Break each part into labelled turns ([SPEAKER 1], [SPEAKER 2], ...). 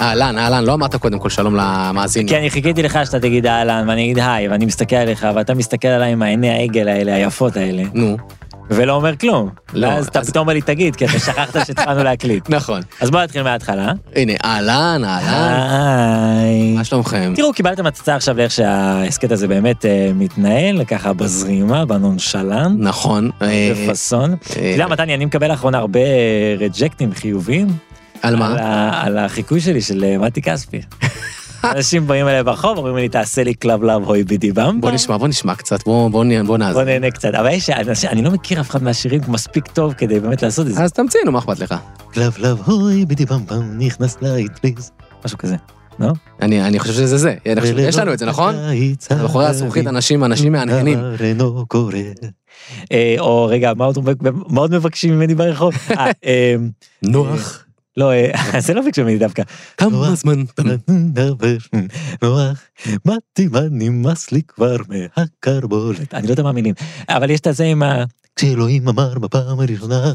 [SPEAKER 1] אהלן, אהלן, לא אמרת קודם כל שלום למאזינים.
[SPEAKER 2] כי אני חיכיתי לך שאתה תגיד אהלן, ואני אגיד היי, ואני מסתכל עליך, ואתה מסתכל עליי עם העיני העגל האלה, היפות האלה,
[SPEAKER 1] נו,
[SPEAKER 2] ולא אומר כלום.
[SPEAKER 1] לא,
[SPEAKER 2] ואז אתה
[SPEAKER 1] אז-
[SPEAKER 2] פתאום אומר לי, תגיד, כי אתה שכחת שהתחלנו להקליט.
[SPEAKER 1] נכון.
[SPEAKER 2] אז בוא נתחיל מההתחלה.
[SPEAKER 1] הנה, אהלן, אהלן, אה,
[SPEAKER 2] היי.
[SPEAKER 1] מה שלומכם?
[SPEAKER 2] תראו, קיבלתם הצצה עכשיו לאיך שההסכת הזה באמת אה, מתנהל, ככה בזרימה, בנונשלן,
[SPEAKER 1] נכון, אה,
[SPEAKER 2] בפאסון. אתה יודע, מתן, אני מקבל לאחרונה הרבה אה, רג'קטים חיוביים.
[SPEAKER 1] על
[SPEAKER 2] על,
[SPEAKER 1] מה?
[SPEAKER 2] ה, על החיקוי שלי של אה, מתי כספי. אנשים באים אליי ברחוב, אומרים לי, תעשה לי קלב לאב הוי בידי במבה.
[SPEAKER 1] בוא נשמע, בוא נשמע קצת, בוא בוא נ- בוא
[SPEAKER 2] בוא
[SPEAKER 1] נאזין.
[SPEAKER 2] נהנה קצת. אבל יש, אנשים- אני לא מכיר אף אחד מהשירים מספיק טוב כדי באמת לעשות את זה.
[SPEAKER 1] אז תמציא, נו, מה אכפת לך?
[SPEAKER 2] קלב לאב הוי בידי במבם, נכנס לאטליז. משהו כזה.
[SPEAKER 1] אני אני חושב שזה זה, אני חושב- יש לנו את זה, נכון? מאחורי הזכוכית אנשים, אנשים מהנהנים.
[SPEAKER 3] לא
[SPEAKER 2] אה, או רגע, מה עוד מה עוד מבקשים ממני ברחוב? אה, אה,
[SPEAKER 1] נוח,
[SPEAKER 2] לא, אה, זה לא ביקשו ממני דווקא.
[SPEAKER 1] כמה זמן? אתה-
[SPEAKER 2] נדבר נוח, מתי מה נמאס לי כבר מהקרבולת. אני לא יודע מה המילים, אבל יש את הזה עם ה... כשאלוהים אמר בפעם הראשונה,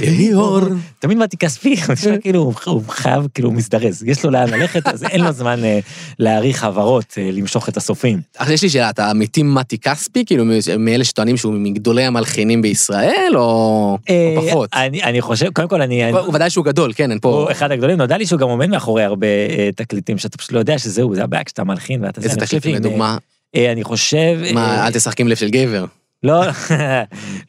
[SPEAKER 1] יהי אור.
[SPEAKER 2] תמיד מתי כספי, הוא
[SPEAKER 1] אה.
[SPEAKER 2] נשמע כאילו הוא- הוא חייב, כאילו הוא מזדרז, יש לו לאן ללכת, אז אין לו זמן אה, להעריך הברות, אה, למשוך את הסופים.
[SPEAKER 1] אז יש לי שאלה, אתה אמיתי מתי כספי, כאילו מ- מאלה שטוענים שהוא מגדולי המלחינים בישראל, או או
[SPEAKER 2] אה,
[SPEAKER 1] פחות?
[SPEAKER 2] אני אני חושב, קודם כל אני...
[SPEAKER 1] הוא- הוא ודאי שהוא גדול, כן, אין פה...
[SPEAKER 2] הוא אחד הגדולים, נודע לי שהוא גם עומד מאחורי הרבה אה, תקליטים שאתה פשוט לא יודע שזהו, זה הבעיה כשאתה מלחין ואתה...
[SPEAKER 1] איזה
[SPEAKER 2] אני חושב
[SPEAKER 1] תקליטים,
[SPEAKER 2] שאם,
[SPEAKER 1] לדוגמה?
[SPEAKER 2] אה, אני חושב...
[SPEAKER 1] מה,
[SPEAKER 2] אה,
[SPEAKER 1] אל תשחק עם לב של גבר.
[SPEAKER 2] לא,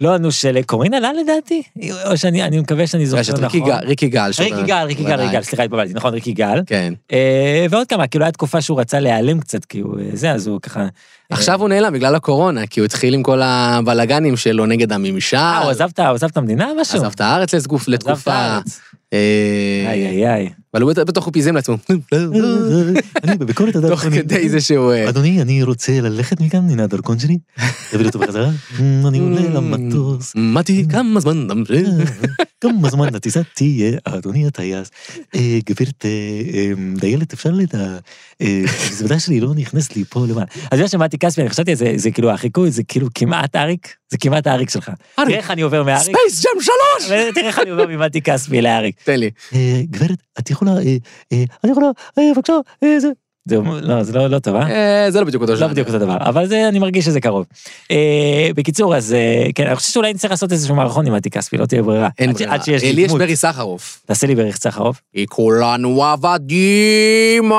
[SPEAKER 2] לא, נו, של קורינה לה לדעתי? או שאני, אני מקווה שאני זוכר
[SPEAKER 1] יש את
[SPEAKER 2] נכון.
[SPEAKER 1] אה, ריקי גל, ריקי גל. שאתה-
[SPEAKER 2] ריקי גל, ריקי גל,
[SPEAKER 1] בוודאי.
[SPEAKER 2] ריקי גל, סליחה, התבלבלתי, נכון, ריקי גל.
[SPEAKER 1] כן.
[SPEAKER 2] אה, ועוד כמה, כאילו, הייתה תקופה שהוא רצה להיעלם קצת, כי הוא אה, זה, אז הוא ככה... אה.
[SPEAKER 1] עכשיו הוא נעלם בגלל הקורונה, כי הוא התחיל עם כל הבלגנים שלו נגד הממשל.
[SPEAKER 2] אה, הוא עזב את ה- הוא עזב את המדינה או משהו?
[SPEAKER 1] עזב את הארץ לתגוף-
[SPEAKER 2] עזב את
[SPEAKER 1] לתקופה.
[SPEAKER 2] הארץ.
[SPEAKER 1] אה,
[SPEAKER 2] איי, איי, איי.
[SPEAKER 1] אבל הוא בטח הוא פיזם לעצמו,
[SPEAKER 3] לא, אני בביקורת הדרכונים.
[SPEAKER 2] לא
[SPEAKER 1] תוך כדי זה שהוא... אה,
[SPEAKER 3] אדוני, אני רוצה ללכת מכאן, הנה הדרכון שלי. תביא אותו בחזרה. "אמ, אני עולה למטוס.
[SPEAKER 1] "Hmm, מתי, כמה זמן נמשיך?
[SPEAKER 2] אה,
[SPEAKER 3] כמה זמן הטיסה תהיה, אדוני הטייס. "אה, גברת אה, אה, דיילת, אפשר לדע... אה, המזוודה שלי לא נכנסת לי פה למעלה.
[SPEAKER 2] אז בגלל שמעתי כספי, אני חשבתי, זה- זה כאילו החיקוי, זה כאילו כמעט אריק, זה כמעט האריק שלך.
[SPEAKER 1] אריק.
[SPEAKER 2] תראה איך אני עובר מאריק,
[SPEAKER 1] ספייס ג'ם שלוש!
[SPEAKER 2] תראה איך אני עובר ממתי כספי לאריק.
[SPEAKER 1] תן לי.
[SPEAKER 3] "אה, גברת, את יכולה... אה, אה, את יכולה... אה, בבקשה... אה, זה...
[SPEAKER 2] זה- לא, זה לא לא טוב, אה?
[SPEAKER 1] אה, זה לא בדיוק אותו
[SPEAKER 2] לא
[SPEAKER 1] ז'אנר.
[SPEAKER 2] בדיוק אותו דבר, אבל זה, אני מרגיש שזה קרוב. אה, בקיצור, אז אה, כן, אני חושב שאולי נצטרך לעשות איזשהו מערכון עם מתי כספי, לא תהיה ברירה.
[SPEAKER 1] אין
[SPEAKER 2] עד ש-
[SPEAKER 1] ברירה.
[SPEAKER 2] עד שיש
[SPEAKER 1] לי
[SPEAKER 2] לי
[SPEAKER 1] יש
[SPEAKER 2] דמות.
[SPEAKER 1] ברי סחרוף.
[SPEAKER 2] תעשה לי בריך צחרוף.
[SPEAKER 1] כי כולנו עבדים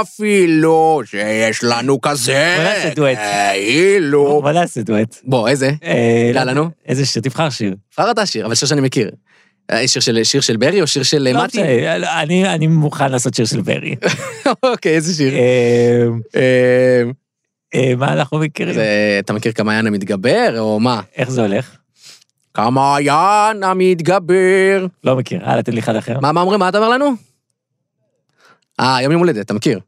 [SPEAKER 1] אפילו שיש לנו כזה.
[SPEAKER 2] בוא נעשה דואט.
[SPEAKER 1] כאילו.
[SPEAKER 2] בוא נעשה דואט.
[SPEAKER 1] בוא, איזה?
[SPEAKER 2] אה,
[SPEAKER 1] יאללה, נו.
[SPEAKER 2] איזה שיר, תבחר שיר.
[SPEAKER 1] כבר אתה שיר, אבל שיר שאני מכיר. אה, שיר של, שיר של ברי או שיר של אה,
[SPEAKER 2] לא
[SPEAKER 1] מתי?
[SPEAKER 2] משנה, אה, לא, אני- אני מוכן לעשות שיר של ברי.
[SPEAKER 1] אוקיי, איזה שיר.
[SPEAKER 2] אה,
[SPEAKER 1] אה,
[SPEAKER 2] אה, מה אנחנו מכירים?
[SPEAKER 1] זה- אתה מכיר כמעיין המתגבר, או מה?
[SPEAKER 2] איך זה הולך?
[SPEAKER 1] כמעיין המתגבר.
[SPEAKER 2] לא מכיר, הלאה, תן לי אחד אחר.
[SPEAKER 1] מה, מה אומרים? מה אתה אומר לנו? אה, יום יום הולדת, אתה מכיר?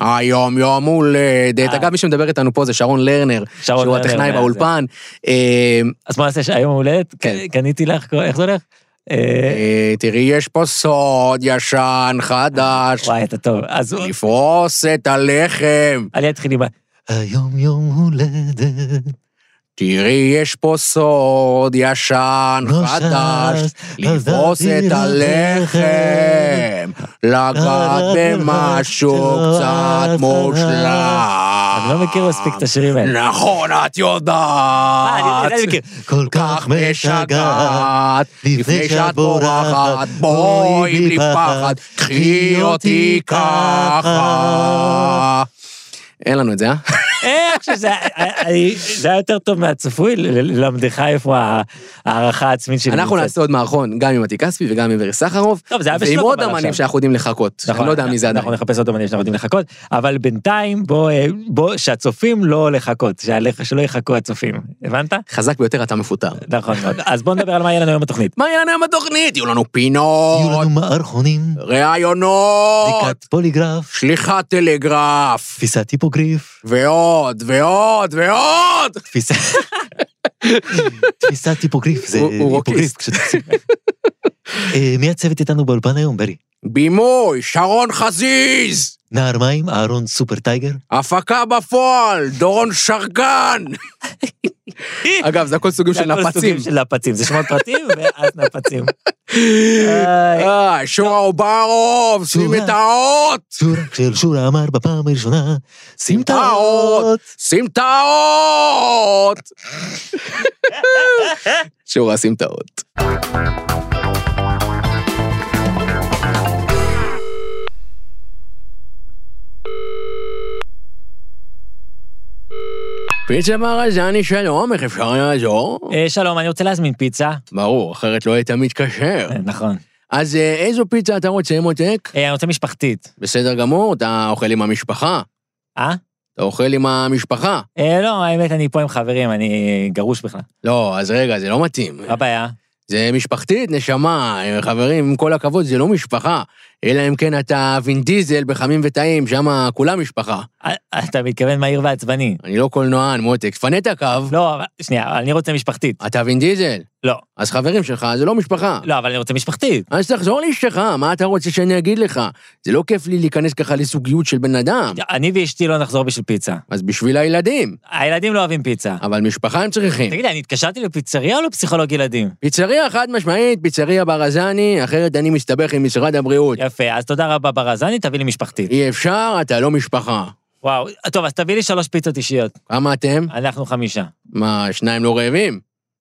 [SPEAKER 1] היום יום הולדת.
[SPEAKER 2] אה.
[SPEAKER 1] אגב, מי שמדבר איתנו פה זה שרון לרנר,
[SPEAKER 2] שרון
[SPEAKER 1] שהוא
[SPEAKER 2] לרנר,
[SPEAKER 1] הטכנאי
[SPEAKER 2] מה זה?
[SPEAKER 1] באולפן. אה,
[SPEAKER 2] אז מה נעשה, שהיום הולדת?
[SPEAKER 1] כן.
[SPEAKER 2] קניתי לך, איך זה הולך? אה,
[SPEAKER 1] אה, תראי, יש פה סוד ישן חדש,
[SPEAKER 2] וואי, אתה טוב. אז
[SPEAKER 1] אה, לפרוס את הלחם.
[SPEAKER 2] אני אתחיל עם... ה-
[SPEAKER 3] היום יום הולדת.
[SPEAKER 1] תראי, יש פה סוד ישן
[SPEAKER 3] לא
[SPEAKER 1] חדש,
[SPEAKER 3] שש,
[SPEAKER 1] לפרוס
[SPEAKER 3] עזבתי
[SPEAKER 1] את הלחם, לגעת
[SPEAKER 3] רק
[SPEAKER 1] במשהו
[SPEAKER 3] שלא
[SPEAKER 1] קצת
[SPEAKER 3] את
[SPEAKER 1] מושלם.
[SPEAKER 2] אני לא מכיר מספיק את השירים האלה.
[SPEAKER 1] נכון, את
[SPEAKER 2] אה, אני-
[SPEAKER 1] יודעת.
[SPEAKER 2] אני מכיר.
[SPEAKER 3] כל
[SPEAKER 1] כך
[SPEAKER 3] כך משגעת.
[SPEAKER 1] משגעת, לפני שאת בורחת, בואי בלי פחד, קחי אותי ככה. אין לנו את זה, אה?
[SPEAKER 4] איך שזה, זה היה יותר טוב מהצפוי, ללמדך איפה ההערכה העצמית שלי.
[SPEAKER 1] אנחנו
[SPEAKER 4] נמצאת.
[SPEAKER 1] נעשה עוד מערכון, גם עם מתי כספי וגם עם ורי סחרוף,
[SPEAKER 4] טוב, זה היה
[SPEAKER 1] ועם
[SPEAKER 4] בשלוף
[SPEAKER 1] עוד
[SPEAKER 4] אבל
[SPEAKER 1] אמנים
[SPEAKER 4] עכשיו.
[SPEAKER 1] שאנחנו יודעים לחכות. אני לא יודע מי זה עדיין.
[SPEAKER 4] נכון, אנחנו נחפש עוד אמנים שאנחנו יודעים לחכות, אבל בינתיים בוא, אה, בוא, שהצופים לא לחכות, שעליך שלא יחכו הצופים, הבנת?
[SPEAKER 1] חזק ביותר אתה מפוטר.
[SPEAKER 4] נכון מאוד. אז בוא נדבר על מה יהיה לנו היום בתוכנית.
[SPEAKER 1] מה יהיה לנו היום בתוכנית? יהיו לנו
[SPEAKER 3] יהיו
[SPEAKER 1] פינות,
[SPEAKER 3] לנו מערכונים,
[SPEAKER 1] ראיונות,
[SPEAKER 3] בדיקת פוליגרף,
[SPEAKER 1] שליחת טלגרף,
[SPEAKER 3] תפיסת היפוגריף,
[SPEAKER 1] ועוד, ועוד, ועוד!
[SPEAKER 3] תפיסה... תפיסת היפוגריף, זה
[SPEAKER 1] הוא- הוא
[SPEAKER 3] היפוגריף.
[SPEAKER 1] רוקיסט.
[SPEAKER 3] כשתופסים. אה, מי הצוות איתנו באולפן היום, ברי?
[SPEAKER 1] בימוי, שרון חזיז!
[SPEAKER 3] נער מים, אהרון סופר טייגר,
[SPEAKER 1] הפקה בפועל, דורון שרגן! אגב, זה הכל סוגים של
[SPEAKER 4] זה הכל
[SPEAKER 1] נפצים.
[SPEAKER 4] סוגים של נפצים, זה שמות פרטים ואז נפצים. איי.
[SPEAKER 1] אה, שורה אוברוב, שים את האות!
[SPEAKER 3] שורה של שורה אמר בפעם הראשונה, שים את
[SPEAKER 1] טעות,
[SPEAKER 3] האות.
[SPEAKER 1] שים את האות! שורה, שים את האות. פיצה מרג'ני שלום, איך אפשר לעזור?
[SPEAKER 4] אה, שלום, אני רוצה להזמין פיצה.
[SPEAKER 1] ברור, אחרת לא היית מתקשר.
[SPEAKER 4] אה, נכון.
[SPEAKER 1] אז אה, איזו פיצה אתה רוצה, מותק?
[SPEAKER 4] אה, אני רוצה משפחתית.
[SPEAKER 1] בסדר גמור, אתה אוכל עם המשפחה.
[SPEAKER 4] אה?
[SPEAKER 1] אתה אוכל עם המשפחה.
[SPEAKER 4] אה, לא, האמת, אני פה עם חברים, אני אה, גרוש בכלל.
[SPEAKER 1] לא, אז רגע, זה לא מתאים.
[SPEAKER 4] מה הבעיה?
[SPEAKER 1] זה משפחתית, נשמה. אה, חברים, עם כל הכבוד, זה לא משפחה. אלא אם כן אתה וין דיזל בחמים וטעים, שם כולם משפחה.
[SPEAKER 4] אה, אתה מתכוון מהיר ועצבני.
[SPEAKER 1] אני לא קולנוען, מותק. תפנה את הקו,
[SPEAKER 4] לא, אבל- שנייה, אני רוצה משפחתית.
[SPEAKER 1] אתה וין דיזל.
[SPEAKER 4] לא.
[SPEAKER 1] אז חברים שלך, זה לא משפחה.
[SPEAKER 4] לא, אבל אני רוצה משפחתית.
[SPEAKER 1] אז תחזור לאשתך, מה אתה רוצה שאני אגיד לך? זה לא כיף לי להיכנס ככה לזוגיות של בן אדם.
[SPEAKER 4] אני ואשתי לא נחזור בשביל פיצה.
[SPEAKER 1] אז בשביל הילדים.
[SPEAKER 4] הילדים לא אוהבים פיצה.
[SPEAKER 1] אבל משפחה הם צריכים.
[SPEAKER 4] תגיד לי, אני התקשרתי לפיצריה או לפסיכולוג ילדים?
[SPEAKER 1] פיצריה חד משמעית, פיצריה ברזני, אחרת אני מסתבך עם משרד הבריאות.
[SPEAKER 4] יפה, אז תודה רבה ברזני, תביא לי משפחתית.
[SPEAKER 1] אי אפשר, אתה לא משפחה.
[SPEAKER 4] וואו, טוב, אז תביא לי שלוש פיצות אישיות.
[SPEAKER 1] כמה אתם?
[SPEAKER 4] אנחנו חמישה.
[SPEAKER 1] מה, שניים לא רעבים?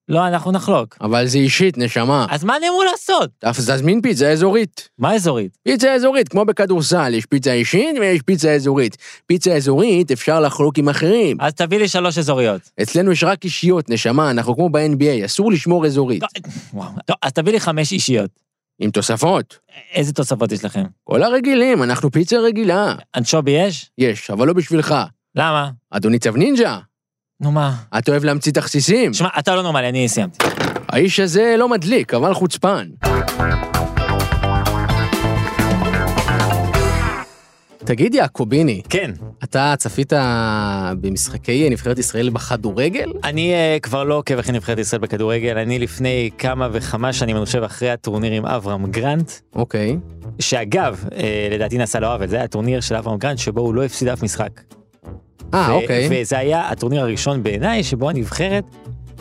[SPEAKER 4] לא, אנחנו נחלוק.
[SPEAKER 1] אבל זה אישית, נשמה.
[SPEAKER 4] אז מה אני אמור לעשות?
[SPEAKER 1] אז תזמין פיצה אזורית.
[SPEAKER 4] מה אזורית?
[SPEAKER 1] פיצה אזורית, כמו בכדורסל, יש פיצה אישית ויש פיצה אזורית. פיצה אזורית אפשר לחלוק עם אחרים.
[SPEAKER 4] אז תביא לי שלוש אזוריות.
[SPEAKER 1] אצלנו יש רק אישיות, נשמה, אנחנו כמו ב-NBA, אסור לשמור אזורית.
[SPEAKER 4] לא, וואו. טוב, אז תביא לי חמש אישיות.
[SPEAKER 1] עם תוספות.
[SPEAKER 4] איזה תוספות יש לכם?
[SPEAKER 1] כל הרגילים, אנחנו פיצה רגילה.
[SPEAKER 4] אנשובי יש?
[SPEAKER 1] יש, אבל לא בשבילך.
[SPEAKER 4] למה?
[SPEAKER 1] אדוני צו נינג'ה,
[SPEAKER 4] נו מה?
[SPEAKER 1] את אוהב להמציא תכסיסים.
[SPEAKER 4] שמע, אתה לא נורמלי, אני סיימתי.
[SPEAKER 1] האיש הזה לא מדליק, אבל חוצפן.
[SPEAKER 5] תגיד, יעקוביני,
[SPEAKER 4] כן.
[SPEAKER 5] אתה צפית במשחקי נבחרת ישראל בכדורגל?
[SPEAKER 2] אני אה, כבר לא עוקב אחרי נבחרת ישראל בכדורגל, אני לפני כמה וכמה שנים, אני חושב, אחרי הטורניר עם אברהם גרנט,
[SPEAKER 5] אוקיי.
[SPEAKER 2] שאגב, אה, לדעתי נעשה לו עוול, זה היה הטורניר של אברהם גרנט שבו הוא לא הפסיד אף משחק.
[SPEAKER 5] אה,
[SPEAKER 2] ו-
[SPEAKER 5] אוקיי.
[SPEAKER 2] וזה היה הטורניר הראשון בעיניי שבו הנבחרת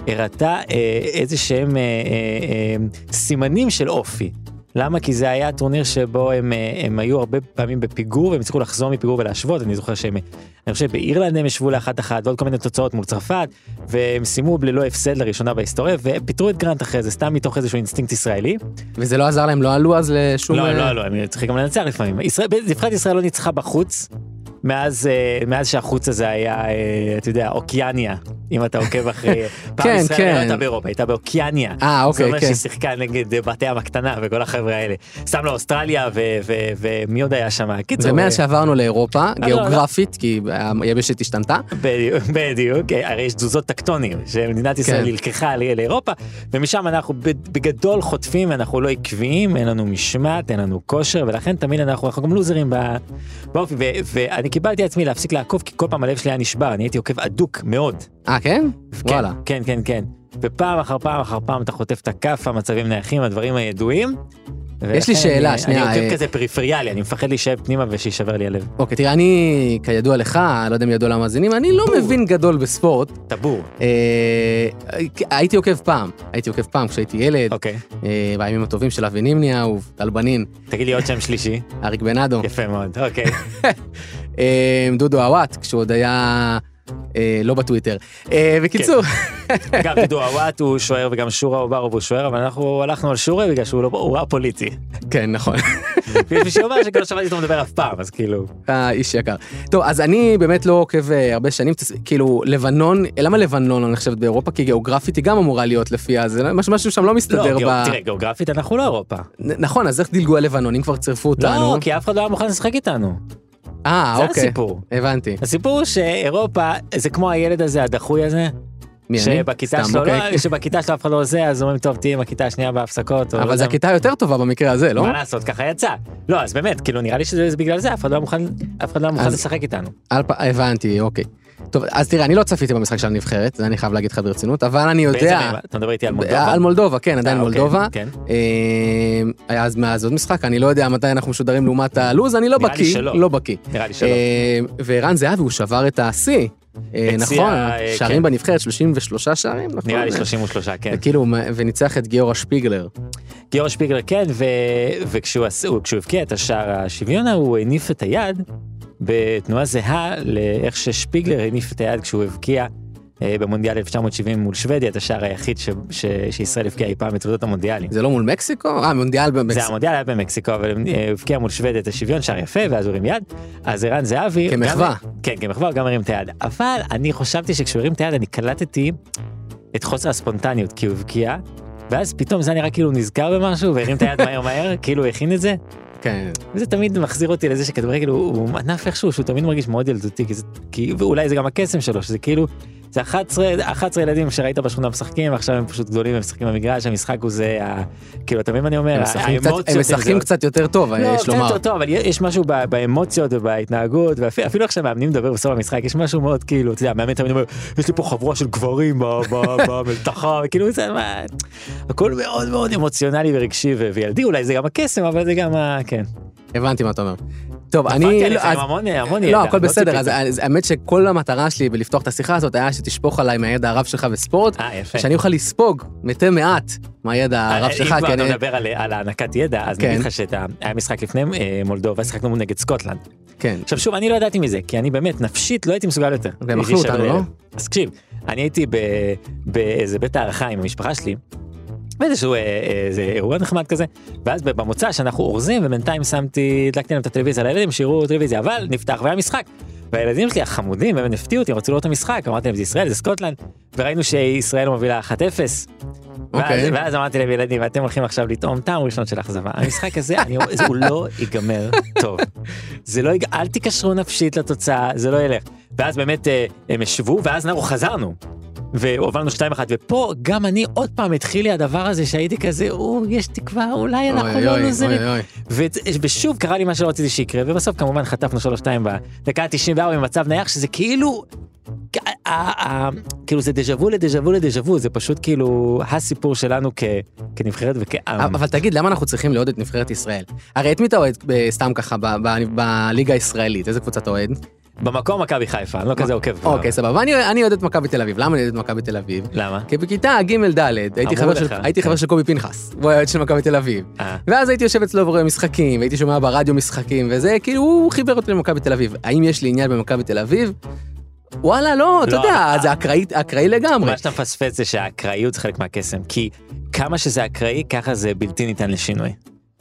[SPEAKER 2] הראתה אה, איזה שהם אה, אה, אה, סימנים של אופי. למה? כי זה היה טורניר שבו הם, אה, הם היו הרבה פעמים בפיגור והם הצליחו לחזור מפיגור ולהשוות, אני זוכר שהם, אני חושב שבאירלנד הם ישבו לאחת אחת ועוד כל מיני תוצאות מול צרפת, והם סיימו ללא הפסד לראשונה בהיסטוריה, ופיטרו את גרנט אחרי זה, סתם מתוך איזשהו אינסטינקט ישראלי.
[SPEAKER 5] וזה לא עזר להם, לא עלו אז לשום...
[SPEAKER 2] לא, לא, לא, הם צריכים גם לנצח לפעמים. ישראל- נבחרת ישראל לא ניצחה בחוץ. מאז, אה, מאז שהחוץ הזה היה, אה, אתה יודע, אוקיאניה, אם אתה עוקב אחרי... פעם
[SPEAKER 5] כן,
[SPEAKER 2] ישראל
[SPEAKER 5] כן.
[SPEAKER 2] לא הייתה באירופה, הייתה באוקיאניה.
[SPEAKER 5] אה,
[SPEAKER 2] זה
[SPEAKER 5] אוקיי,
[SPEAKER 2] אומר
[SPEAKER 5] כן.
[SPEAKER 2] שהיא שיחקה נגד אה, בת הים הקטנה וכל החבר'ה האלה. סתם לא, אוסטרליה ו- ו- ומי עוד היה שם? קיצור,
[SPEAKER 5] ומאז
[SPEAKER 2] אה,
[SPEAKER 5] שעברנו לאירופה,
[SPEAKER 2] לא,
[SPEAKER 5] גיאוגרפית, כי היבשת השתנתה,
[SPEAKER 2] בדיוק, בדיוק, אה, הרי יש תזוזות טקטוניים, שמדינת ישראל
[SPEAKER 5] כן.
[SPEAKER 2] נלקחה ל- לאירופה, ומשם אנחנו ב- בגדול חוטפים, אנחנו לא עקביים, אין לנו משמעת, אין לנו כושר, ולכן תמיד אנחנו, אנחנו גם לוזרים ב- באופי, ו- ואני קיבלתי עצמי להפסיק לעקוב, כי כל פעם הלב שלי היה נשבר, אני הייתי עוקב הדוק מאוד.
[SPEAKER 5] אה, כן? וואלה.
[SPEAKER 2] כן, כן, כן. ופעם אחר פעם אחר פעם אתה חוטף את הכף, המצבים נייחים, הדברים הידועים.
[SPEAKER 5] יש לי
[SPEAKER 2] ולכן
[SPEAKER 5] שאלה,
[SPEAKER 2] אני-
[SPEAKER 5] שנייה,
[SPEAKER 2] אני
[SPEAKER 5] אה,
[SPEAKER 2] עוקב כזה פריפריאלי, אני מפחד להישאב פנימה ושיישבר לי הלב.
[SPEAKER 5] אוקיי, תראה, אני, כידוע לך, לא יודע אם ידוע למאזינים, אני לא מבין גדול בספורט.
[SPEAKER 2] טבור.
[SPEAKER 5] אה, הייתי עוקב פעם, הייתי עוקב פעם כשהייתי ילד,
[SPEAKER 2] אוקיי.
[SPEAKER 5] אה, בימים הטובים של אבי נימניה וטל בנין,
[SPEAKER 2] תגיד לי עוד שם שלישי.
[SPEAKER 5] אריק בנאדו.
[SPEAKER 2] יפה מאוד, אוקיי.
[SPEAKER 5] אה, דודו עוואט, כשהוא עוד היה אה, לא בטוויטר. אה, בקיצור,
[SPEAKER 2] אגב, תדעו, הוואט הוא שוער וגם שורה אוברוב הוא שוער, אבל אנחנו הלכנו על שורה בגלל שהוא לא, הוא א-פוליטי.
[SPEAKER 5] כן, נכון.
[SPEAKER 2] ויש מי שאומר שגם לא שמעתי אותו מדבר אף פעם, אז כאילו...
[SPEAKER 1] אתה איש יקר. טוב, אז אני באמת לא עוקב אה, הרבה שנים, תס- כאילו, לבנון, אה, למה לבנון אני חושבת באירופה? כי גיאוגרפית היא גם אמורה להיות לפיה, זה משהו משהו שם לא
[SPEAKER 2] לא,
[SPEAKER 1] מסתדר
[SPEAKER 2] גיאו-
[SPEAKER 1] ב...
[SPEAKER 2] תראה, גיאוגרפית אנחנו לא אירופה.
[SPEAKER 1] נ- נכון, אז איך דילגו הלבנונים? כבר צירפו אותנו.
[SPEAKER 2] לא, כי אף אחד לא היה מוכן לשחק איתנו.
[SPEAKER 1] אה,
[SPEAKER 2] זה
[SPEAKER 1] אוקיי.
[SPEAKER 2] הסיפור.
[SPEAKER 1] הבנתי.
[SPEAKER 2] הסיפור הוא שאירופה זה כמו הילד הזה הדחוי הזה
[SPEAKER 1] מי אני?
[SPEAKER 2] שבכיתה
[SPEAKER 1] סתם,
[SPEAKER 2] שלו
[SPEAKER 1] אוקיי.
[SPEAKER 2] לא- שבכיתה שלו אף אחד לא עושה אז אומרים טוב תהיי עם הכיתה השנייה בהפסקות. או לא
[SPEAKER 1] אבל זו
[SPEAKER 2] יודע מה."
[SPEAKER 1] הכיתה היותר טובה במקרה הזה, לא?
[SPEAKER 2] מה לעשות ככה יצא לא אז באמת כאילו נראה לי שזה זה בגלל זה אף אחד לא היה מוכן אף אחד לא היה מוכן
[SPEAKER 1] אז-
[SPEAKER 2] לשחק איתנו.
[SPEAKER 1] על פ- הבנתי, אוקיי. טוב, אז תראה, אני לא צפיתי במשחק של הנבחרת, זה אני חייב להגיד לך ברצינות, אבל אני
[SPEAKER 2] באיזה
[SPEAKER 1] יודע...
[SPEAKER 2] מהם? אתה מדבר איתי על מולדובה?
[SPEAKER 1] על מולדובה, כן, עדיין
[SPEAKER 2] אה, אוקיי,
[SPEAKER 1] מולדובה.
[SPEAKER 2] כן.
[SPEAKER 1] אה, היה אז מאז עוד משחק, אני לא יודע מתי אנחנו משודרים לעומת הלו"ז, אני לא
[SPEAKER 2] נראה לי
[SPEAKER 1] בקיא,
[SPEAKER 2] שלא.
[SPEAKER 1] לא בקיא.
[SPEAKER 2] נראה לי שלא.
[SPEAKER 1] אה, וערן זהבי, הוא שבר את השיא, אה,
[SPEAKER 2] את שיא
[SPEAKER 1] נכון?
[SPEAKER 2] ה- אה,
[SPEAKER 1] שערים
[SPEAKER 2] כן.
[SPEAKER 1] בנבחרת, 33 שערים, נכון?
[SPEAKER 2] נראה לי 33 כן.
[SPEAKER 1] וכאילו, מה- וניצח את גיורא שפיגלר.
[SPEAKER 2] גיאור שפיגלר כן ו... וכשהוא עש- הוא- כשהוא הבקיע את השער השוויון הוא הניף את היד בתנועה זהה לאיך ששפיגלר הניף את היד כשהוא הבקיע אה, במונדיאל 1970 מול שוודיה את השער היחיד ש... ש... שישראל הבקיעה אי פעם בתולדות המונדיאלים.
[SPEAKER 1] זה לא מול מקסיקו? אה, מונדיאל
[SPEAKER 2] זה
[SPEAKER 1] במקסיקו.
[SPEAKER 2] המונדיאל היה במקסיקו אבל אה, הוא הבקיע מול שוודיה את השוויון שער יפה ואז הוא הרים יד אז ערן זהבי גם-
[SPEAKER 1] כמחווה.
[SPEAKER 2] כן כמחווה הוא גם הרים את היד אבל אני חשבתי שכשהוא הרים את היד אני קלטתי את חוסר הספונטניות כי הוא הבקיע. ואז פתאום זה היה נראה כאילו הוא נזכר במשהו והרים את היד מהר מהר כאילו הוא הכין את זה
[SPEAKER 1] כן.
[SPEAKER 2] וזה תמיד מחזיר אותי לזה שכדורגל הוא הוא ענף איכשהו שהוא תמיד מרגיש מאוד ילדותי כי זה כי ואולי זה גם הקסם שלו שזה כאילו זה 11 11 ילדים שראית בשכונה משחקים עכשיו הם פשוט גדולים הם משחקים במגרש המשחק הוא זה ה- כאילו תמיד אני אומר
[SPEAKER 1] הם משחקים קצת-
[SPEAKER 2] האמוציות
[SPEAKER 1] הם
[SPEAKER 2] הם
[SPEAKER 1] משחקים
[SPEAKER 2] זה-
[SPEAKER 1] קצת יותר טוב,
[SPEAKER 2] לא,
[SPEAKER 1] יש
[SPEAKER 2] קצת
[SPEAKER 1] לומר.
[SPEAKER 2] יותר טוב, אבל יש משהו ב- באמוציות ובהתנהגות ואפילו אפילו עכשיו מאמנים מדבר בסוף המשחק יש משהו מאוד כאילו אתה יודע מאמן תמיד אומר יש לי פה חבורה של גברים ב- ב- במלתחה כאילו זה מה הכל מאוד מאוד אמוציונלי ורגשי ו- וילדי אולי זה גם הקסם אבל זה גם ה... כן.
[SPEAKER 1] הבנתי מה אתה אומר. טוב,
[SPEAKER 2] דפקתי
[SPEAKER 1] אני... לא,
[SPEAKER 2] עליך עם
[SPEAKER 1] אז-
[SPEAKER 2] המון המון ידע.
[SPEAKER 1] לא, הכל בסדר, אז
[SPEAKER 2] ציפיתי.
[SPEAKER 1] אז האמת שכל המטרה שלי בלפתוח את השיחה הזאת היה שתשפוך עליי מהידע הרב שלך בספורט,
[SPEAKER 2] אה, יפה.
[SPEAKER 1] שאני אוכל לספוג מתי מעט מהידע
[SPEAKER 2] אה,
[SPEAKER 1] הרב
[SPEAKER 2] אה,
[SPEAKER 1] שלך,
[SPEAKER 2] אם כבר
[SPEAKER 1] כי
[SPEAKER 2] אתה
[SPEAKER 1] אני...
[SPEAKER 2] מדבר על- על הענקת ידע, אז
[SPEAKER 1] כן.
[SPEAKER 2] נגיד לך שהיה משחק לפני אה, מולדובה, שיחקנו מול נגד סקוטלנד.
[SPEAKER 1] כן.
[SPEAKER 2] עכשיו שוב, אני לא ידעתי מזה, כי אני באמת, נפשית לא הייתי מסוגל יותר.
[SPEAKER 1] והם אכלו
[SPEAKER 2] הרגיש
[SPEAKER 1] אותנו,
[SPEAKER 2] אבל-
[SPEAKER 1] לא?
[SPEAKER 2] אז תקשיב, אני הייתי ב- באיזה בית הערכה עם המשפחה שלי, באיזשהו אה, אה, איזה אירוע נחמד כזה, ואז במוצא שאנחנו אורזים, ובינתיים שמתי, הדלקתי להם את הטלוויזיה לילדים, שיראו טלוויזיה, אבל נפתח והיה משחק. והילדים שלי החמודים, הם הפתיעו אותי, הם רצו לראות את המשחק, אמרתי להם זה ישראל, זה סקוטלנד, וראינו שישראל מובילה 1-0. ואז,
[SPEAKER 1] אוקיי.
[SPEAKER 2] ואז אמרתי להם ילדים אתם הולכים עכשיו לטעום טעם ראשון של אכזבה המשחק הזה אני, זה- הוא לא ייגמר טוב. זה לא ייג... אל תיקשרו נפשית לתוצאה זה לא ילך. ואז באמת אה, הם ישבו ואז אנחנו חזרנו. והובלנו 2-1 ופה גם אני עוד פעם התחיל לי הדבר הזה שהייתי כזה או יש תקווה אולי אנחנו
[SPEAKER 1] אוי,
[SPEAKER 2] לא
[SPEAKER 1] אוי,
[SPEAKER 2] לוזרים.
[SPEAKER 1] אוי, אוי.
[SPEAKER 2] ו- ושוב קרה לי מה שלא רציתי שיקרה ובסוף כמובן חטפנו 3-2 בדקה ה-94 במצב נייח שזה כאילו. כ- ה- ה- כאילו זה דז'ה וו לדז'ה וו לדז'ה וו זה פשוט כאילו הסיפור שלנו כ- כנבחרת אה, וכעם.
[SPEAKER 1] אבל תגיד, למה אנחנו צריכים לאהוד את נבחרת ישראל? הרי את מי אתה אוהד אה, סתם ככה ב- ב- בליגה הישראלית? איזה קבוצה אתה אוהד?
[SPEAKER 2] במקום מכבי חיפה אני לא כזה עוקב. כבר.
[SPEAKER 1] אוקיי, סבבה. אני- אני אוהד את מכבי תל אביב. למה אני אוהד את מכבי תל אביב?
[SPEAKER 2] למה?
[SPEAKER 1] כי בכיתה ג'-ד' הייתי
[SPEAKER 2] אמרו
[SPEAKER 1] חבר של-
[SPEAKER 2] לך,
[SPEAKER 1] הייתי
[SPEAKER 2] כן.
[SPEAKER 1] חבר של קובי פנחס, הוא היה אוהד של מכבי תל אביב.
[SPEAKER 2] אה.
[SPEAKER 1] ואז הייתי יושב אצלו ורואה משחקים, והייתי שומע ברדיו משחקים, וזה כאילו, הוא חיבר אותי למכבי תל אביב. האם יש לי עניין במכבי תל אביב? וואלה, לא, אתה
[SPEAKER 2] לא,
[SPEAKER 1] יודע,
[SPEAKER 2] אבל-
[SPEAKER 1] זה אקראי- אקראי לגמרי.
[SPEAKER 2] מה שאתה מפספס זה שהאקראיות זה חלק מהקסם כי כמה שזה אקראי ככה זה בלתי ניתן לשינוי.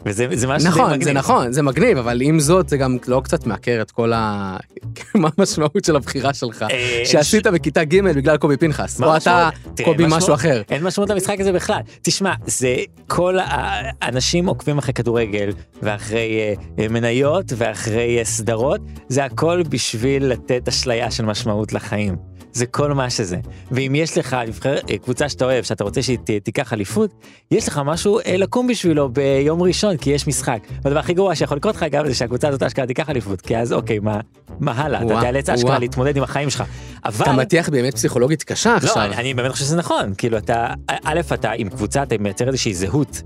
[SPEAKER 2] וזה זה משהו
[SPEAKER 1] נכון, זה נכון, זה מגניב, אבל עם זאת, זה גם לא קצת מעקר את כל ה... מה המשמעות של הבחירה שלך,
[SPEAKER 2] אה,
[SPEAKER 1] שעשית בכיתה ג' בגלל קובי פנחס,
[SPEAKER 2] מה
[SPEAKER 1] או אתה
[SPEAKER 2] המשמעות? תראה,
[SPEAKER 1] קובי
[SPEAKER 2] משמעות-
[SPEAKER 1] משהו אחר.
[SPEAKER 2] אין משמעות למשחק הזה בכלל. תשמע, זה כל האנשים עוקבים אחרי כדורגל, ואחרי אה, אה, מניות, ואחרי אה, סדרות, זה הכל בשביל לתת אשליה של משמעות לחיים. זה כל מה שזה. ואם יש לך נבחר, אה, קבוצה שאתה אוהב, שאתה רוצה שהיא ת- תיקח אליפות, יש לך משהו אה, לקום בשבילו ביום ראשון, כי יש משחק. והדבר הכי גרוע שיכול לקרות לך גם זה שהקבוצה הזאת אשכרה תיקח אליפות, כי אז אוקיי, מה, מה הלאה? אתה
[SPEAKER 1] וואו,
[SPEAKER 2] תיאלץ אשכרה
[SPEAKER 1] וואו.
[SPEAKER 2] להתמודד עם החיים שלך. אבל...
[SPEAKER 1] אתה מטיח באמת פסיכולוגית קשה
[SPEAKER 2] לא,
[SPEAKER 1] עכשיו.
[SPEAKER 2] אני, אני באמת חושב שזה נכון, כאילו אתה, א', אתה עם קבוצה, אתה מייצר איזושהי זהות,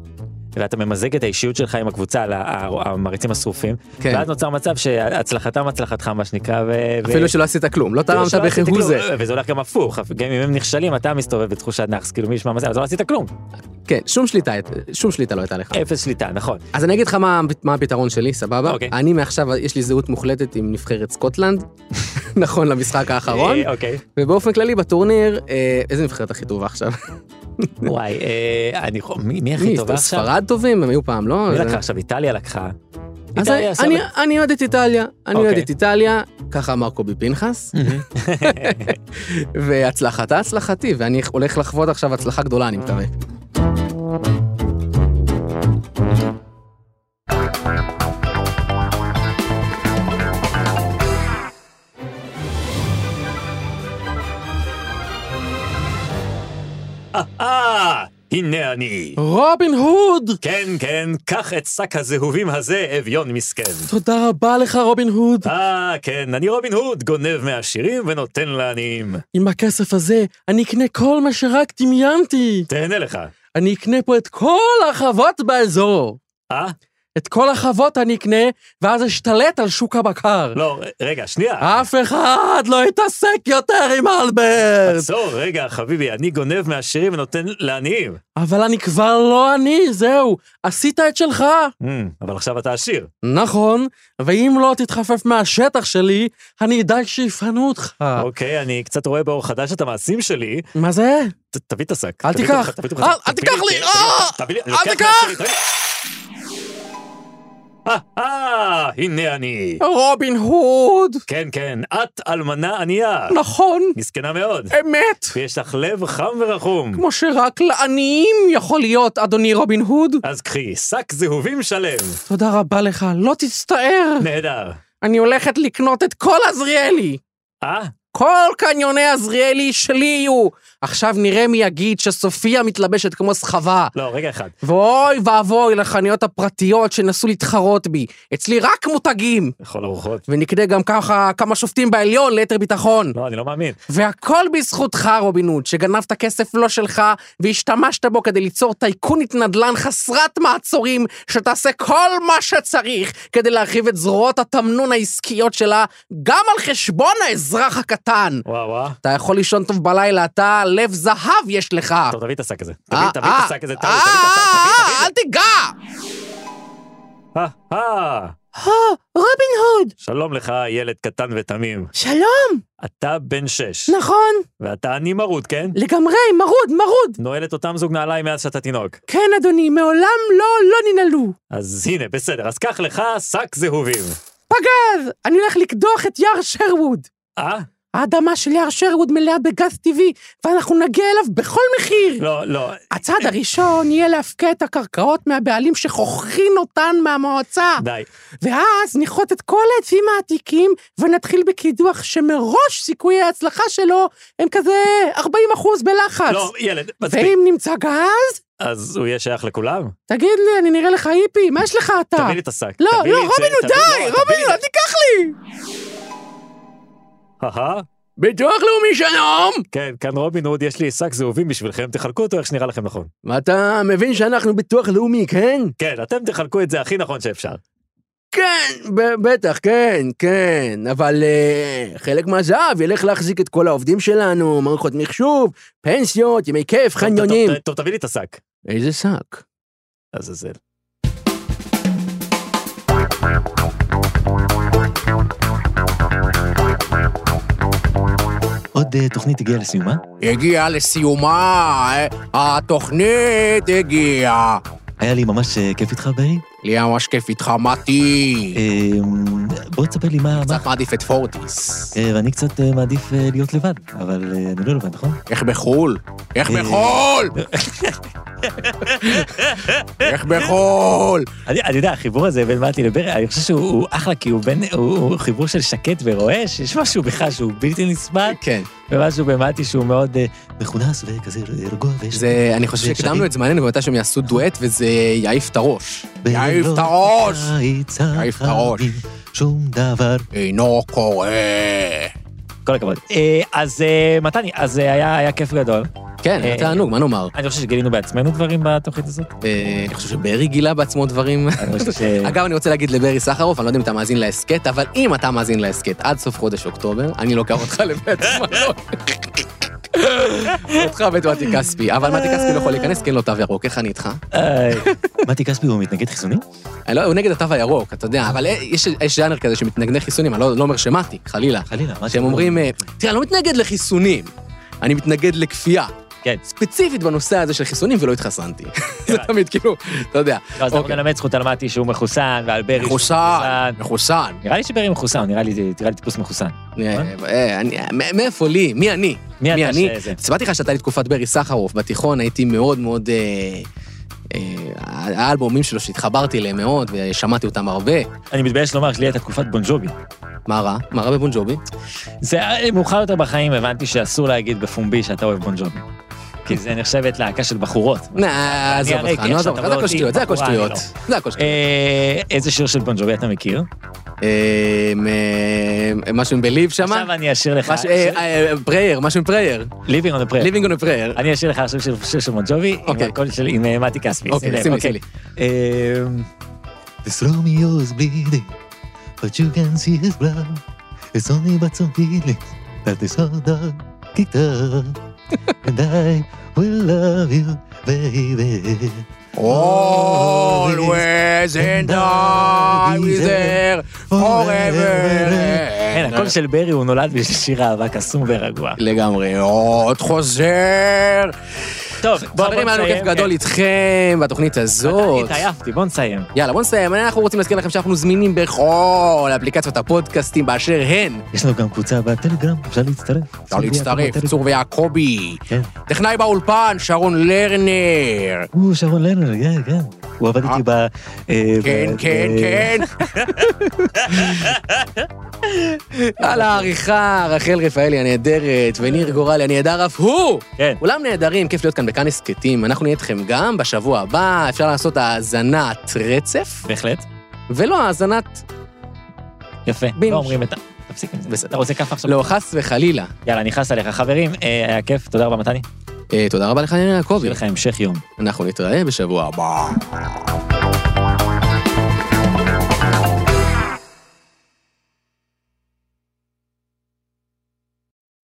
[SPEAKER 2] ואתה ממזג את האישיות שלך עם הקבוצה, לה- ה- המעריצים השרופים,
[SPEAKER 1] כן.
[SPEAKER 2] ואז נוצר מצב שהצלחתם הצלחתך, מה שנקרא, ו...
[SPEAKER 1] אפילו
[SPEAKER 2] ו-
[SPEAKER 1] שלא עשית כלום, לא
[SPEAKER 2] אפילו
[SPEAKER 1] תרמת
[SPEAKER 2] שלא עשית
[SPEAKER 1] בכהוא
[SPEAKER 2] כלום,
[SPEAKER 1] זה.
[SPEAKER 2] וזה הולך גם הפוך, גם אם הם נכשלים, אתה מסתובב בתחושת נאחס, כאילו מי ישמע מה זה, אז לא עשית כלום,
[SPEAKER 1] כן, שום שליטה, שום שליטה לא הייתה לך.
[SPEAKER 2] אפס שליטה, נכון.
[SPEAKER 1] אז אני אגיד לך מה, מה הפתרון שלי, סבבה?
[SPEAKER 2] אוקיי.
[SPEAKER 1] אני מעכשיו, יש לי זהות מוחלטת עם נבחרת סקוטלנד, נכון למשחק האחרון,
[SPEAKER 2] אה, אוקיי.
[SPEAKER 1] ובאופן כללי בטורניר, אה, איזה נבחרת הכי טובה עכשיו?
[SPEAKER 2] וואי, אה, אני... חו- מי מי הכי
[SPEAKER 1] מי,
[SPEAKER 2] טובה עכשיו?
[SPEAKER 1] ספרד טובים? הם היו פעם, לא?
[SPEAKER 2] מי
[SPEAKER 1] זה-
[SPEAKER 2] לקחה עכשיו? איטליה לקחה.
[SPEAKER 1] אז
[SPEAKER 2] איטליה,
[SPEAKER 1] אני- אני-
[SPEAKER 2] סבבה.
[SPEAKER 1] אני אוהד את איטליה, אני
[SPEAKER 2] אוקיי.
[SPEAKER 1] אוהד את איטליה, ככה אמר קובי פנחס,
[SPEAKER 2] Mm-hmm.
[SPEAKER 1] והצלחתה הצלחתי, ואני הולך לחוות עכשיו הצלחה גדולה, אני מקווה.
[SPEAKER 2] אה, הנה אני.
[SPEAKER 1] רובין הוד!
[SPEAKER 2] כן, כן, קח את שק הזהובים הזה, אביון מסכן.
[SPEAKER 1] תודה רבה לך, רובין הוד.
[SPEAKER 2] אה, כן, אני רובין הוד, גונב מהעשירים ונותן לעניים.
[SPEAKER 1] עם הכסף הזה אני אקנה כל מה שרק דמיינתי.
[SPEAKER 2] תהנה לך.
[SPEAKER 1] אני אקנה פה את כל החוות באזור.
[SPEAKER 2] אה?
[SPEAKER 1] את כל החוות אני אקנה, ואז אשתלט על שוק הבקר.
[SPEAKER 2] לא, ר- רגע, שנייה.
[SPEAKER 1] אף אחד לא יתעסק יותר עם אלברט!
[SPEAKER 2] עצור, רגע, חביבי, אני גונב מהעשירים ונותן לעניים.
[SPEAKER 1] אבל אני כבר לא אני, זהו, עשית את שלך.
[SPEAKER 2] Mm, אבל עכשיו אתה עשיר.
[SPEAKER 1] נכון, ואם לא תתחפף מהשטח שלי, אני אדאג שיפנו אותך.
[SPEAKER 2] אוקיי, אני קצת רואה באור חדש את המעשים שלי.
[SPEAKER 1] מה זה?
[SPEAKER 2] ת- תביא את השק.
[SPEAKER 1] אל
[SPEAKER 2] תביא
[SPEAKER 1] תיקח.
[SPEAKER 2] את השק, תביא את
[SPEAKER 1] אל-
[SPEAKER 2] השק.
[SPEAKER 1] אל
[SPEAKER 2] תביא
[SPEAKER 1] תיקח לי,
[SPEAKER 2] כן,
[SPEAKER 1] אה!
[SPEAKER 2] תביא לי, אני
[SPEAKER 1] אל
[SPEAKER 2] לוקח
[SPEAKER 1] תיקח!
[SPEAKER 2] מהעשירים, תביא לי. אה, אה, הנה אני.
[SPEAKER 1] רובין הוד!
[SPEAKER 2] כן, כן, את אלמנה ענייה.
[SPEAKER 1] נכון,
[SPEAKER 2] מסכנה מאוד.
[SPEAKER 1] אמת,
[SPEAKER 2] ויש לך לב חם ורחום.
[SPEAKER 1] כמו שרק לעניים יכול להיות, אדוני רובין הוד.
[SPEAKER 2] אז קחי, שק זהובים שלם.
[SPEAKER 1] תודה רבה לך, לא תצטער.
[SPEAKER 2] נהדר.
[SPEAKER 1] אני הולכת לקנות את כל עזריאלי.
[SPEAKER 2] אה?
[SPEAKER 1] כל קניוני עזריאלי שלי יהיו. עכשיו נראה מי יגיד שסופיה מתלבשת כמו סחבה.
[SPEAKER 2] לא, רגע אחד.
[SPEAKER 1] ואוי ואבוי לחנויות הפרטיות שנסו להתחרות בי. אצלי רק מותגים.
[SPEAKER 2] לכל הרוחות.
[SPEAKER 1] ונקנה גם ככה כמה שופטים בעליון ליתר ביטחון.
[SPEAKER 2] לא, אני לא מאמין.
[SPEAKER 1] והכל בזכותך, רובין הוד, שגנבת כסף לא שלך, והשתמשת בו כדי ליצור טייקונית נדל"ן חסרת מעצורים, שתעשה כל מה שצריך כדי להרחיב את זרועות התמנון העסקיות שלה, גם על חשבון האזרח הקטן.
[SPEAKER 2] וואו, וואו.
[SPEAKER 1] אתה יכול לישון טוב בלילה, אתה לב זהב יש לך.
[SPEAKER 2] טוב, תביא את השק הזה.
[SPEAKER 1] אה,
[SPEAKER 2] תביא, תביא את
[SPEAKER 1] אה,
[SPEAKER 2] השק הזה, תביא,
[SPEAKER 1] אה,
[SPEAKER 2] תביא את השק, תביא,
[SPEAKER 1] אה,
[SPEAKER 2] תביא.
[SPEAKER 1] אל תיגע!
[SPEAKER 2] אה, אה.
[SPEAKER 1] רובין הוד,
[SPEAKER 2] שלום לך, ילד קטן ותמים.
[SPEAKER 1] שלום,
[SPEAKER 2] אתה בן שש.
[SPEAKER 1] נכון,
[SPEAKER 2] ואתה אני מרוד, כן?
[SPEAKER 1] לגמרי, מרוד, מרוד.
[SPEAKER 2] נועל את אותם זוג נעליים מאז שאתה תינוק.
[SPEAKER 1] כן, אדוני, מעולם לא, לא ננעלו.
[SPEAKER 2] אז הנה, בסדר, אז קח לך שק זהובים.
[SPEAKER 1] פגז! אני הולך לקדוח את יער שרווד.
[SPEAKER 2] אה?
[SPEAKER 1] האדמה של יער שרווד מלאה בגז טבעי, ואנחנו נגיע אליו בכל מחיר.
[SPEAKER 2] לא, לא.
[SPEAKER 1] הצעד הראשון יהיה להפקיע את הקרקעות מהבעלים שחוכרים אותן מהמועצה,
[SPEAKER 2] די.
[SPEAKER 1] ואז נכרות את כל העצים העתיקים ונתחיל בקידוח שמראש סיכויי ההצלחה שלו הם כזה 40 אחוז בלחץ.
[SPEAKER 2] לא, ילד, מספיק.
[SPEAKER 1] ואם נמצא גז,
[SPEAKER 2] אז הוא יהיה שייך לכולם?
[SPEAKER 1] תגיד לי, אני נראה לך היפי, מה יש לך אתה?
[SPEAKER 2] תביא לי את השק.
[SPEAKER 1] לא,
[SPEAKER 2] תביא
[SPEAKER 1] לא,
[SPEAKER 2] לי את זה,
[SPEAKER 1] רובין,
[SPEAKER 2] תביא-
[SPEAKER 1] די,
[SPEAKER 2] לא, תביא
[SPEAKER 1] רובין,
[SPEAKER 2] לי
[SPEAKER 1] אל
[SPEAKER 2] את זה.
[SPEAKER 1] תיקח לי! לא.
[SPEAKER 2] אהה.
[SPEAKER 6] ביטוח לאומי שלום!
[SPEAKER 2] כן, כאן רובין הוד, יש לי שק זהובים בשבילכם, תחלקו אותו איך שנראה לכם נכון.
[SPEAKER 6] ואתה מבין שאנחנו ביטוח לאומי, כן?
[SPEAKER 2] כן, אתם תחלקו את זה הכי נכון שאפשר.
[SPEAKER 6] כן, ב- בטח, כן, כן, אבל uh, חלק מהזהב ילך להחזיק את כל העובדים שלנו, מערכות מחשוב, פנסיות, ימי כיף,
[SPEAKER 2] טוב, טוב,
[SPEAKER 6] חניונים.
[SPEAKER 2] טוב, טוב, תביא לי את השק.
[SPEAKER 6] איזה שק.
[SPEAKER 2] לעזאזל.
[SPEAKER 3] עוד אה, תוכנית הגיעה לסיומה.
[SPEAKER 6] הגיעה לסיומה, אה, התוכנית הגיעה.
[SPEAKER 3] היה לי ממש אה, כיף איתך, ברי.
[SPEAKER 6] לי היה ממש כיף איתך, מתי.
[SPEAKER 3] אה, בוא תספר לי מה... מה-
[SPEAKER 6] קצת מעדיף את פורטיס.
[SPEAKER 3] אה, ואני קצת אה, מעדיף אה, להיות לבד, אבל אה, אני לא לבד, נכון?
[SPEAKER 6] איך בחו"ל? איך
[SPEAKER 3] אה.
[SPEAKER 6] בחו"ל? איך בחו"ל?
[SPEAKER 7] אני אני יודע, החיבור הזה בין מתי לברי, אני חושב שהוא הוא אחלה, כי הוא בין, הוא הוא חיבור של שקט ורועש, יש משהו בך שהוא בלתי נסבל,
[SPEAKER 6] כן.
[SPEAKER 7] ומשהו במתי שהוא מאוד... אה,
[SPEAKER 3] מכונס וכזה רגוע ויש...
[SPEAKER 1] זה, אני חושב
[SPEAKER 3] זה
[SPEAKER 1] שהקדמנו
[SPEAKER 3] אפשרי.
[SPEAKER 1] את זמננו, ומתי שהם יעשו דואט וזה יעיף את הראש.
[SPEAKER 6] יעיף את
[SPEAKER 3] בלילות
[SPEAKER 6] הראש.
[SPEAKER 3] הקיץ
[SPEAKER 6] יעיף את הראש.
[SPEAKER 3] החמים, שום דבר.
[SPEAKER 6] אינו קורה.
[SPEAKER 7] כל הכבוד. אה, אז אה, מתני, אז אה, היה היה כיף גדול.
[SPEAKER 1] כן,
[SPEAKER 7] אה,
[SPEAKER 1] היה תענוג, מה נאמר?
[SPEAKER 7] אני חושב שגילינו בעצמנו דברים בתוכנית הזאת.
[SPEAKER 1] אה, אני חושב שברי גילה בעצמו דברים.
[SPEAKER 7] אני חושב
[SPEAKER 2] אה.
[SPEAKER 7] ש-
[SPEAKER 1] אגב, אני רוצה להגיד לברי סחרוף, אני לא יודע אם אתה מאזין להסכת, אבל אם אתה מאזין להסכת עד סוף חודש אוקטובר, אני לוקח אותך לבית מלון. אותך ואת מתי כספי, אבל מתי כספי לא יכול להיכנס, כי אין לו תו ירוק, איך אני איתך?
[SPEAKER 7] אה,
[SPEAKER 3] מתי כספי הוא מתנגד חיסוני?
[SPEAKER 1] אני לא- הוא נגד התו הירוק, אתה יודע, אבל אה, יש יש ז'אנר כזה שמתנגני חיסונים, אני לא לא אומר שמתי, חלילה.
[SPEAKER 3] חלילה, מה
[SPEAKER 1] אה, שהם אומרים, אה, תראה, אני לא מתנגד לחיסונים, אני מתנגד לכפייה.
[SPEAKER 2] כן.
[SPEAKER 1] ספציפית בנושא הזה של חיסונים, ולא התחסנתי. זה תמיד כאילו, אתה יודע.
[SPEAKER 2] לא, אז אנחנו
[SPEAKER 1] אוקיי.
[SPEAKER 2] נלמד זכות על מתי שהוא מחוסן, ועל ברי שהוא
[SPEAKER 1] מחוסן, מחוסן.
[SPEAKER 2] נראה לי שברי מחוסן, נראה לי נראה לי טיפוס מחוסן.
[SPEAKER 1] אה, אה, אני- מ- מאיפה לי? מי אני?
[SPEAKER 2] נכון. מי אתה
[SPEAKER 1] אני?
[SPEAKER 2] שזה?
[SPEAKER 1] סיפרתי לך שהייתה לי תקופת ברי סחרוף. בתיכון הייתי מאוד מאוד... אה, אה, האלבומים שלו שהתחברתי אליהם מאוד, ושמעתי אותם הרבה.
[SPEAKER 2] אני מתבייש לומר שלי הייתה תקופת בונג'ובי.
[SPEAKER 1] מה רע? מה רע בבון ג'ובי?
[SPEAKER 2] זה היה מאוחר יותר בחיים הבנתי שאסור להגיד בפומבי שאתה אוהב בונג'ובי. כי זה נחשבת להקה של בחורות.
[SPEAKER 1] נא, עזוב
[SPEAKER 2] הרגע,
[SPEAKER 1] אותך, נו,
[SPEAKER 2] איך
[SPEAKER 1] עזוב
[SPEAKER 2] שאתה
[SPEAKER 1] אותך, זה
[SPEAKER 2] רואה
[SPEAKER 1] הכל
[SPEAKER 2] אותי,
[SPEAKER 1] שטויות, זה הכל
[SPEAKER 2] בחורה, אני
[SPEAKER 1] שטויות.
[SPEAKER 2] לא.
[SPEAKER 1] זה הכל שטויות.
[SPEAKER 2] אה, איזה שיר של בונג'ובי אתה מכיר?
[SPEAKER 1] אמ, אמ, משהו עם בליב שמה? אה,
[SPEAKER 2] עכשיו אני אשאיר לך...
[SPEAKER 1] פרייר, משהו עם פרייר.
[SPEAKER 2] Living on a Prayer.
[SPEAKER 1] ליבינג און פרייר.
[SPEAKER 2] אני אשאיר לך עכשיו שיר שיר של בונג'ובי, עם
[SPEAKER 1] אוקיי.
[SPEAKER 2] הקול של... עם אה, מתי כספי.
[SPEAKER 1] אוקיי,
[SPEAKER 2] שים לב,
[SPEAKER 1] שים לי,
[SPEAKER 2] אוקיי.
[SPEAKER 1] שים
[SPEAKER 2] אה,
[SPEAKER 3] This Romeo is bleeding, but you can see his blood. It's only but some feelings that this old dog kicked up. and I will love you, baby.
[SPEAKER 1] Always and I will be there forever.
[SPEAKER 2] כן, הקול של ברי הוא נולד בשביל שיר אהבה קסום ורגוע.
[SPEAKER 1] לגמרי, עוד חוזר.
[SPEAKER 2] טוב, בוא
[SPEAKER 1] חברים, היה לנו
[SPEAKER 2] נסיים,
[SPEAKER 1] כיף גדול
[SPEAKER 2] כן.
[SPEAKER 1] איתכם בתוכנית הזאת.
[SPEAKER 2] התעייפתי, בוא נסיים.
[SPEAKER 1] יאללה, בוא נסיים. אנחנו רוצים להזכיר לכם שאנחנו זמינים בכל אפליקציות הפודקאסטים באשר הן.
[SPEAKER 3] יש לנו גם קבוצה בטלגרם, אפשר להצטרף.
[SPEAKER 1] אפשר להצטרף, צור ויעקבי.
[SPEAKER 3] כן.
[SPEAKER 1] טכנאי באולפן, שרון לרנר.
[SPEAKER 3] הוא שרון לרנר, כן, כן. הוא עבד איתי ב... אה,
[SPEAKER 1] כן,
[SPEAKER 3] ב-
[SPEAKER 1] כן,
[SPEAKER 3] אה,
[SPEAKER 1] כן. על העריכה, רחל רפאלי הנהדרת, וניר גורלי הנהדר אף הוא!
[SPEAKER 2] כן.
[SPEAKER 1] כולם נהדרים, כיף להיות כאן בכאן הסכתים. אנחנו נהיה איתכם גם בשבוע הבא, אפשר לעשות האזנת רצף,
[SPEAKER 2] בהחלט.
[SPEAKER 1] ולא האזנת...
[SPEAKER 2] יפה.
[SPEAKER 1] בינג'.
[SPEAKER 2] לא אומרים את ה... תפסיק עם זה.
[SPEAKER 1] בסדר.
[SPEAKER 2] אתה רוצה כף עכשיו?
[SPEAKER 1] לא, חס וחלילה.
[SPEAKER 2] יאללה, אני חס עליך. חברים, אה, היה כיף, תודה רבה מתני.
[SPEAKER 1] אה, תודה רבה לך, ניר יעקבי.
[SPEAKER 2] שיהיה לך המשך יום.
[SPEAKER 1] אנחנו נתראה בשבוע הבא.